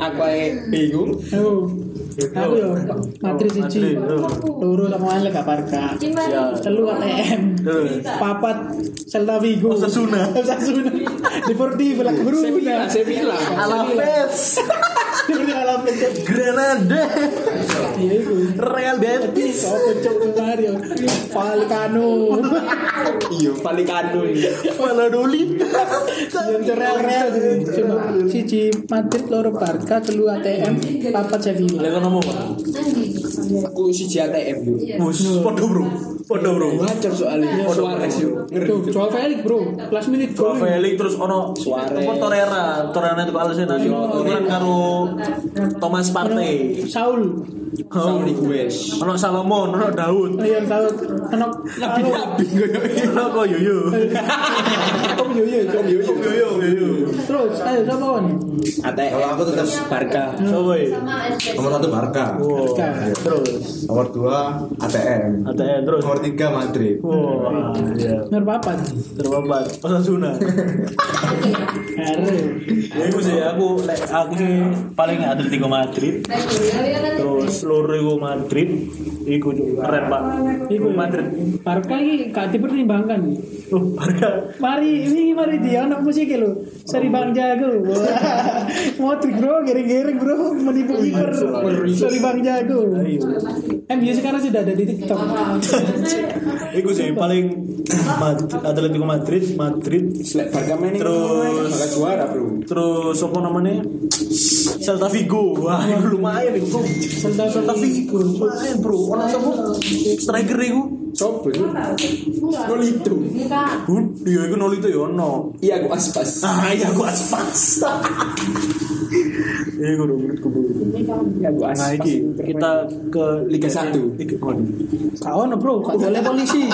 Aku aja bingung.
Oh. Aku yo Madrid siji.
Madrid, tuh.
Loro sama Anel gak parka.
Ya.
Telu ATM.
Tuh.
Papat Celta Vigo.
Osasuna.
Osasuna. Deportivo La Coruña.
Sevilla, Sevilla.
Alaves,
Deportivo Alaves. cok.
Granada,
Iya iku.
Real Betis.
Sopo cok Mario. Valikano.
Iya, Palikano ini. Valladolid.
Yang terel-rel Cuma siji Madrid loro Barca telu ATM papat Sevilla.
Lek ngomong apa?
Aku si JTM yo.
Mus, podo bro. Podo bro.
Wajar soalnya Suarez yo.
Tuh, Joao Felix, Bro. Last minute
Joao
goal.
Felix terus ono
Suarez.
Apa Torreira, Torreira itu Alsen aja. Ukuran karo Thomas Partey.
Saul.
Ono ono Salomon, ono Daud.
Oh, Yang tahu anak
Nabi Ono kok yo yo.
Tom Yoyo. Tom Yoyo.
Yo yo yo yo.
Terus, ayo siapa kan?
Kalau
ATM
aku tetap
Barca.
Coba ya.
nomor satu Barca,
Wow.
Barca.
Terus
nomor dua ATM,
ATM terus.
nomor tiga Madrid.
Wow. Iya.
Nomor papat.
Terbabat. Osasuna.
Are.
Ya iku sih aku lek aku sih paling Atletico Madrid. Terus loro iku Madrid. Iku keren Pak. Iku Madrid.
Barca ini gak dipertimbangkan.
Oh, Barca.
Mari, ini mari dia anak musik ya, lo. Sari Bang Jago. Wah. Motrik bro, gering-gering bro,
Iya,
menipu-nipu. Sari Bang Jago. MU sekarang sudah ada di TikTok.
Iku sih paling Madrid, Atletico Madrid, Madrid,
Selek Barca main ini
Terus.
bakal juara, Bro.
terus apa namanya? Celta Vigo. Wah, itu lumayan iku. Bro.
Celta
Celta Vigo lumayan, Bro. Ono sapa striker iku?
Coba yo. Gol itu.
Huh? Iya, iku nol itu ya ono.
Iya aku aspas.
Ah, iya gua aspas. Iku dong menurutku, Bro.
Iya aku aspas.
Nah, iki kita ke
Liga satu.
Liga- waduh.
Kau no bro, gak boleh polisi.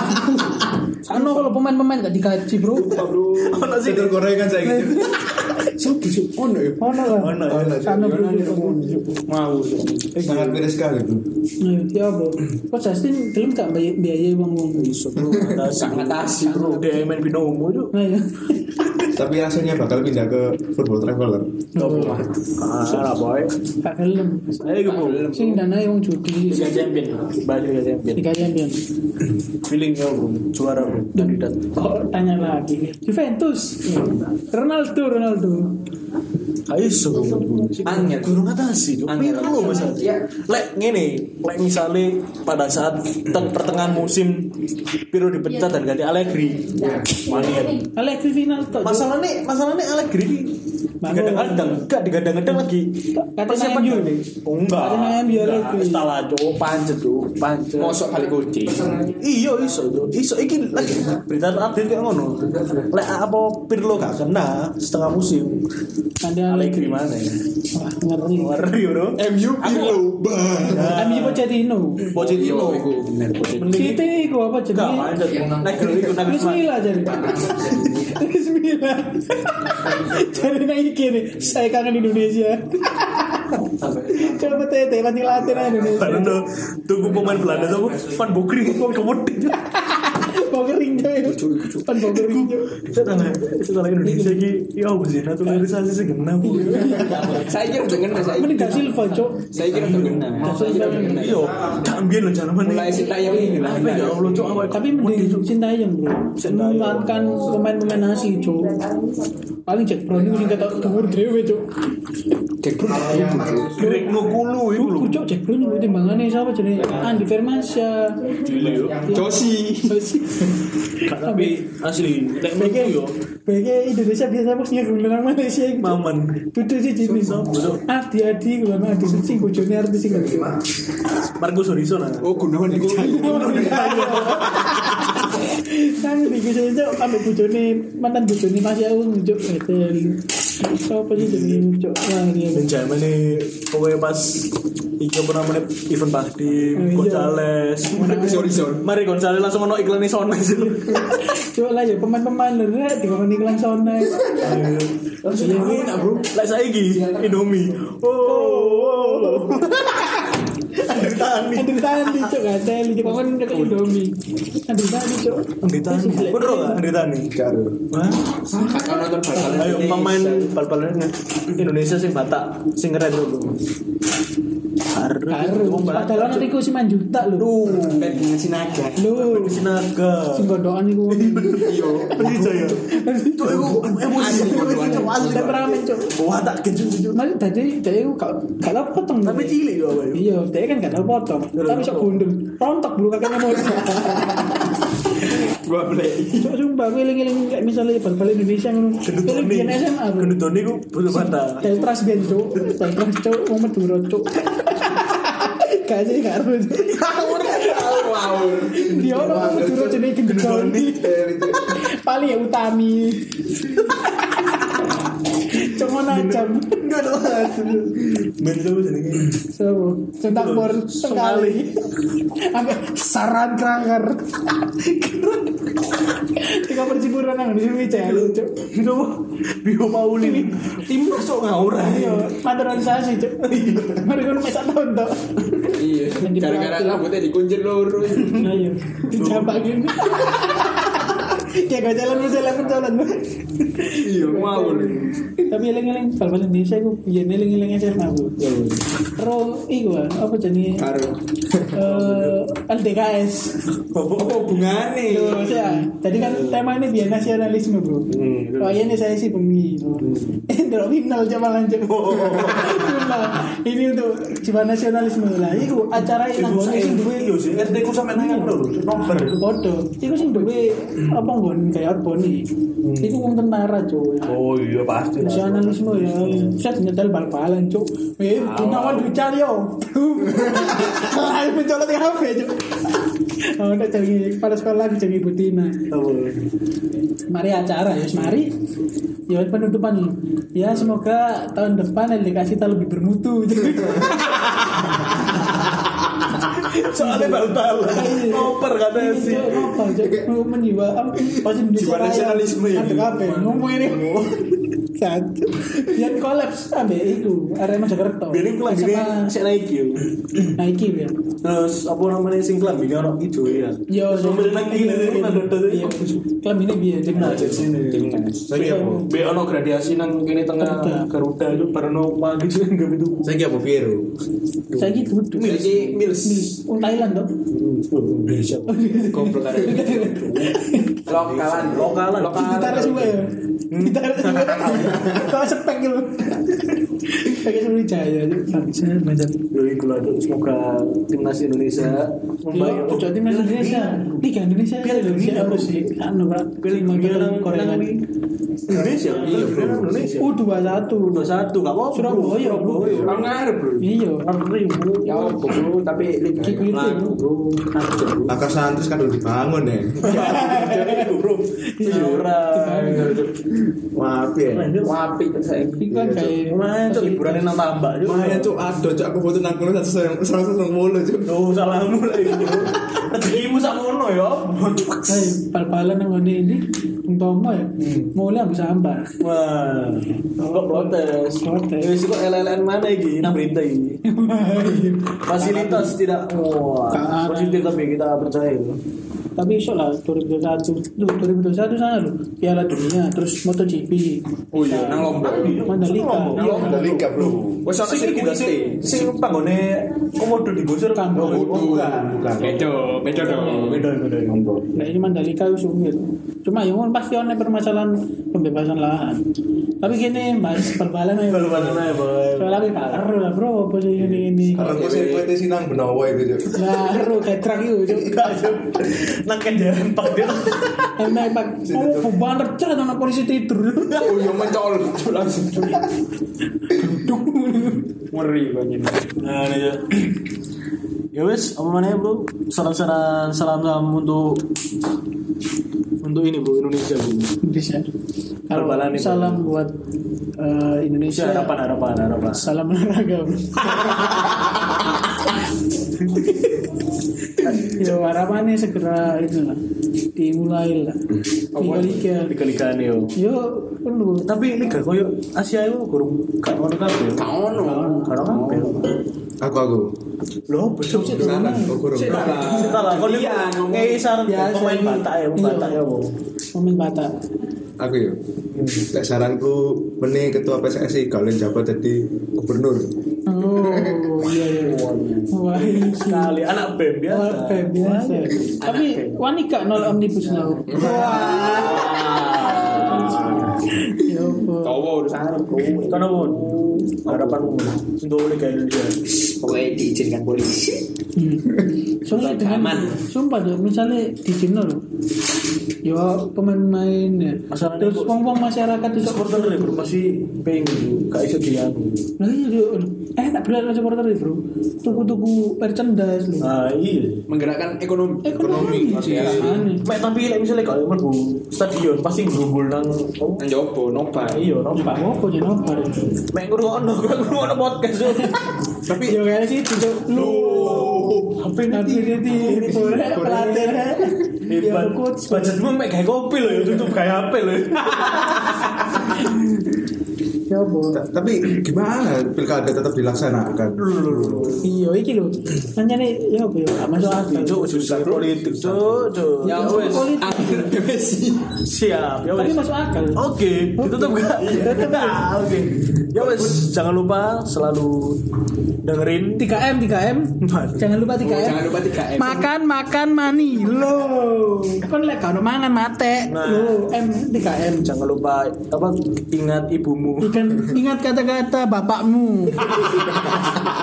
Ano kalau pemain-pemain gak digaji bro.
Ono sih
Inter Korea kan saya gitu.
Suki suki ono yo.
Ono lah.
Ono, ono.
Kano bro.
mau.
Eh, Sangat miris sekali bro.
Nah, ya bro. Kok Justin gelem gak bayar biaya uang uang besok?
Gak ngatasi,
Bro, dia main binomo itu.
Nah ya.
Tapi rasanya bakal pindah ke football traveler.
Salah Ah, boy.
Gak gelem.
Ayo iku, Bro.
Sing danai uang judi.
Liga Champion, baju Liga Champion.
Liga Champion.
Feeling ya bro, juara bro, kandidat.
Kok tanya lagi? Juventus. Ronaldo, Ronaldo.
Ayo so,
Angel.
guru ngatasi tuh.
Angel.
Pirlo masalah.
Iya.
Lek ngene, lek misalnya pada saat te- pertengahan musim Pirlo dipecat dan ganti Allegri. Wani kan.
Alexis final toh.
Masalahnya, masalahnya Allegri ini digadang-gadang, enggak digadang-gadang lagi.
Katanya
Persiapan
MU.
nih. Oh, enggak.
Katanya MU Allegri.
Salah cowok pancet tuh, pancet.
Mosok balik kunci.
Iya iso itu. Iso iki lagi berita update kayak ngono. Lek apa Pirlo gak kena setengah musim.
Ada
Allegri mana ya?
Wah, ngeri.
Ngeri bro.
MU Pirlo.
Ami Pochettino.
Pochettino.
Iku bener.
Mending
City iku apa
gak
jenenge?
main dan naik dulu itu naik
Bismillah jadi. Bismillah. Jadi naik gini, saya kangen Indonesia. Coba tete mati latin aja Indonesia.
Baru tuh tunggu pemain Belanda sama Van Bokri kok kemudi.
Mau kering coy. Pan mau kering coy.
Setelah setelah Indonesia iki ya apa sih naturalisasi sih kena Bu.
Saya kira udah kena saya.
Mending Da Silva cok.
Saya kira udah kena. Saya kira udah kena.
Iya, gak ambien lho jalan mana.
Mulai Sinta yang ini lah.
Apa ya Allah cok awak.
Tapi mending cinta yang bro.
Sintayong.
Memanfaatkan pemain-pemain asli cok. Paling Jack Brown itu sing ketok dhuwur dhewe cok.
Jack Brown.
Greg Ngokulu iku lho.
Kucok Jack Brown iku timbangane sapa jenenge? Andi Firmansyah.
Gila yo.
Josi.
Tapi asli, lek
Bege,
menurutku yo
bege Indonesia biasa bosnya gelandang Malaysia itu.
maman.
Duduk sih jadi Adi Adi gue mah Adi sing bojone artis sing gak gelem.
Marcus Horizon ah.
Oh Gunawan di
Nang di gue sih cok ambek bojone mantan bojone Mas Yaung cok Eden. Sopo sih jadi cok wah ini.
Benjamin nih pokoknya pas iki apa namanya event Bahdim,
Oh, iya.
Gonzales.
Horizon.
Mari Gonzales langsung ono iklan Sona sih.
Cok lah ya pemain-pemain lho di kono iklan sona.
Ini enak, Bro. Lek saiki Indomie. Oh, Oh. oh. Andri Tani.
Andri Tandi cok gak teli di kono dekat Indomie. Andri Tandi cok.
Andri Tani. Bener gak Andri Tani?
Karo.
Hah?
Kakak nonton bal-balan
Ayo
Indonesia.
pemain bal-balan ya. Indonesia sing Batak, sing keren lho. Bro. Baru.
Baru. Padahal nanti gue sih juta lho.
Bet dengan Sinaga.
Lho.
Sinaga.
Sing gondokan iku.
Iya, Jaya. Itu emosi
Asli,
emosi,
Cok,
asli.
temperamen cok
Wah, tak kejut kejut.
Mas tadi dia itu gak gak tau potong
Tapi cilik ya, Pak.
Iya, dia kan gak tau potong Tapi sok gundul Rontok bulu kakaknya mau
Gua play.
Cok sumpah gue eling-eling kayak misalnya bal-bal Indonesia ngono. Eling biyen SMA aku.
Genutoni ku butuh bata.
Teltras biyen cok, Teltras cok mau Madura cok. Kayaknya gak harus. Dia ono mau Madura jenenge gendon. Paling ya utami. Cuma najam.
Enggak ada mas. Main sama jenenge.
Sopo? Centang bor sekali. Apa saran kranger. Tiga percipuran nang di sini cah lucu.
Itu Bio Pauli. Timnas sok ngawur
Yo, naturalisasi cuk. Mereka kan mesak tahun toh.
Iya. Gara-gara rambutnya dikunjir loro.
Ayo, dijambak gini. Kayak gak Ya, jalan jalan pun jalan.
Iya, mau.
Tapi eling-eling bal-bal Indonesia iya, aku biyen eling-eling SMA aku. Rom iku ah, apa jenis?
Karo.
Eh, LDKS.
Hubungane.
Loh, saya, tadi kan tema ini biar nasionalisme bro.
Hmm.
Oh iya nih saya sih bengi. Eh drop final coba lanjut.
Oh.
Cuma, ini untuk coba nasionalisme lah. Iku acara
Ibu
yang nanggung
saya
sing
itu
duwe
yo sih. RT ku sampe nang lho. Nomor.
bodoh. Iku sing duwe apa nggon kayak Arboni. Iku wong tentara cuy.
Oh iya pasti. lah.
Nasionalisme ya, saya nyetel bal-balan cuk. Eh, gunawan bicara yo. Ayo mencolot di HP cuk. Oh, udah jadi pada sekolah jadi Butina.
Tahu.
mari acara ya mari ya penutupan dulu ya semoga tahun depan LDK kita lebih bermutu
Soalnya
Iya.
bal-bal. Ngoper kata sih.
apa aja momen jiwa apa, pasti
Jiwa nasionalisme ya.
ada kape ngomong ini satu dan kolaps abe itu Arema Jakarta
Biar ini kelas ini
Sama
saya naik yo.
Nike ya
Terus apa namanya sing kelam bikin orang hijau ya.
Yo,
Terus mobil naik gini ini ada ada
Iya. Klaim ini biar
Nah, jadi sini.
Saiki apa?
Be ono gradasi nang kene tengah Garuda itu gitu, parno pagi sing gawe itu.
Saiki apa Piero?
saya gitu duduk.
Saiki Mills.
Oh, Thailand dong
Indonesia.
Goblok arek. Lokalan,
Lokalan.
Gitaris juga ya Gitaris juga Kalau sepek gitu Pakai seluruh jaya Bisa macam
Yo iku lah Cuk. semoga timnas Indonesia membaik. ya,
Cocok tim nasional Iya. Indonesia Liga Indonesia Iya, Piala Indonesia harus sih Anu pak Kelima
Nang-
kita Korea
nang- Indonesia. Iya, Indonesia.
U21
21 gak apa-apa.
Surabaya, bro.
Surabaya.
Orang ngarep, Bro.
Iya
Ya opo, Bro, tapi liga
Kick with
yang
it,
laku, Bro. Ngarep, Bro.
Akar Santos kan udah dibangun ya.
Bro.
Iya.
Ora.
Maaf ya.
Wapi kan saya.
Ini kan kayak
Lumayan Iya, cok hiburannya nang tambak Cuk.
Mayan cuk, aduh cuk aku butuh nangkul satu sayang satu sayang mulu cuk.
Oh, salahmu lah itu. Rezekimu sak ngono ya.
Hai, pal-palan yang ini ini Untomo ya
Hmm.
Mulai aku sambar
Wah, kok protes.
Protes.
Wis kok LLN mana iki? Nang berita iki. Fasilitas tidak wah.
Kanan.
Positif tapi kita percaya.
Tapi insya lah 2021 Duh, 2021 sana loh Piala Dunia Terus MotoGP
Oh iya, nang lombok.
Mandalika
Iya.
Udah liga bro.
Wes ana
Sing
sing
iki
kuwi
sing sing panggone komodo digusur
Kamboja.
Bukan, bukan.
Bedo, bedo dong.
Beda beda.
Nah ini Mandalika itu sumir. Cuma yang kan pasti ada permasalahan pembebasan lahan. Tapi gini mas perbalan aja.
Balu-balu ae, Boy.
Soalnya lebih karu lah bro apa sih ini ini.
Karena gue sering kuatnya sih nang benowo itu cuk.
Nah karu kayak truk itu.
Nang kendaraan pak dia.
Enak pak. Oh beban tercer sama polisi tidur.
Oh iya mencol cuk langsung.
Duk.
Ngeri banget.
Nah, ini
iya.
ya. Ya wes, apa namanya bro? Salam-salam, salam-salam untuk untuk ini bro Indonesia bro.
Bisa. Kalau
Perbalan itu.
salam buat eh,
Indonesia
Indonesia.
harapan harapan harapan.
Salam olahraga. bro. Ya harapannya segera itu lah dimulai lah tiga liga
Liga-liga ini, yo.
yo perlu
Tapi liga koyo Asia itu kurang gak ono kabeh.
Gak ono.
Gak ono kabeh.
Aku aku.
Loh, betul sih.
Saran, aku kurang.
Kita lah kon
Iya, ngomong.
ngeisar
Biasa,
pemain
iya.
Batak ya, Batak ya. Bro.
pemain batak
Aku ya. Lek saranku meni ketua PSSI kalau jabat jadi gubernur.
oh iya iya wah iya.
Sekali anak BEM biasa.
Wah, iya, kayak biasa
Ah,
tapi wanita nol omnibus law
Wah.
Ya ampun.
Tawa urusan aku.
Kan Mun, harapanmu untuk Liga Indonesia.
Pokoknya diizinkan polisi.
Hmm. Soalnya dengan
Aman.
sumpah deh, misalnya di Cina loh, yo pemain-pemain ya.
Masalahnya
Terus
kok-
wong-wong masyarakat itu
supporter Liverpool pasti pengen gak iso dianu.
Nah, iya, iya. eh tak berat supporter itu bro. Tuku-tuku merchandise Eh, loh.
Nah, iya.
Menggerakkan ekonomi. Iya.
Ekonomi, Iya. aneh.
Mek tapi lek misalnya kalau mlebu stadion pasti ngrubul nang oh,
Nang jopo, nobar.
iya nampak.
Apa jadi nobar?
Mek ngrungokno, ngrungokno podcast.
Tapi
Yo kayak sih tidak lu.
Apa
Tapi
nanti
jadi korek pelatih. Ya
Hebat.
coach.
Budgetmu mek kayak kopi loh ya, tutup kayak HP loh.
Ya boh.
Ta- Tapi gimana pilkada tetap dilaksanakan?
Iya, iki lho. Nanya nih, ya apa ya? Masuk akal.
Cuk, jurusan politik. Cuk, cuk.
ya wes,
politik.
akhir depresi.
Siap, ya
Tapi
wes.
masuk akal.
Oke, ditutup gak?
Tutup.
Nah, Oke. Ya wes, jangan lupa selalu dengerin
3M, 3M. Jangan lupa 3M.
Oh, Jangan lupa 3M.
Makan, makan, mani. Loh. Kan lek gak ono mangan mate.
Nah.
Loh, M 3M.
jangan lupa apa ingat ibumu
Bukan ingat kata-kata bapakmu.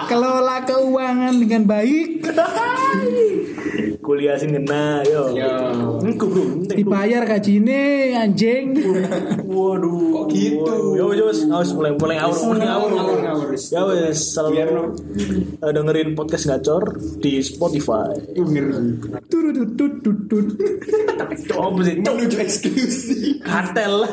Kelola keuangan dengan baik,
kuliah sing kena yo
Yo.
engku bro entek, bro.
dibayar gajine anjing.
waduh
Kok gitu?
Waduh. yo yo wes harus mulai mulai awur mulai awur
Awur, awur.
ya wes
Biar no.
selalu eh, dengerin podcast gacor di Spotify
Turututututut.
Cok, apa sih? Cok,
Menuju eksklusi.
kartel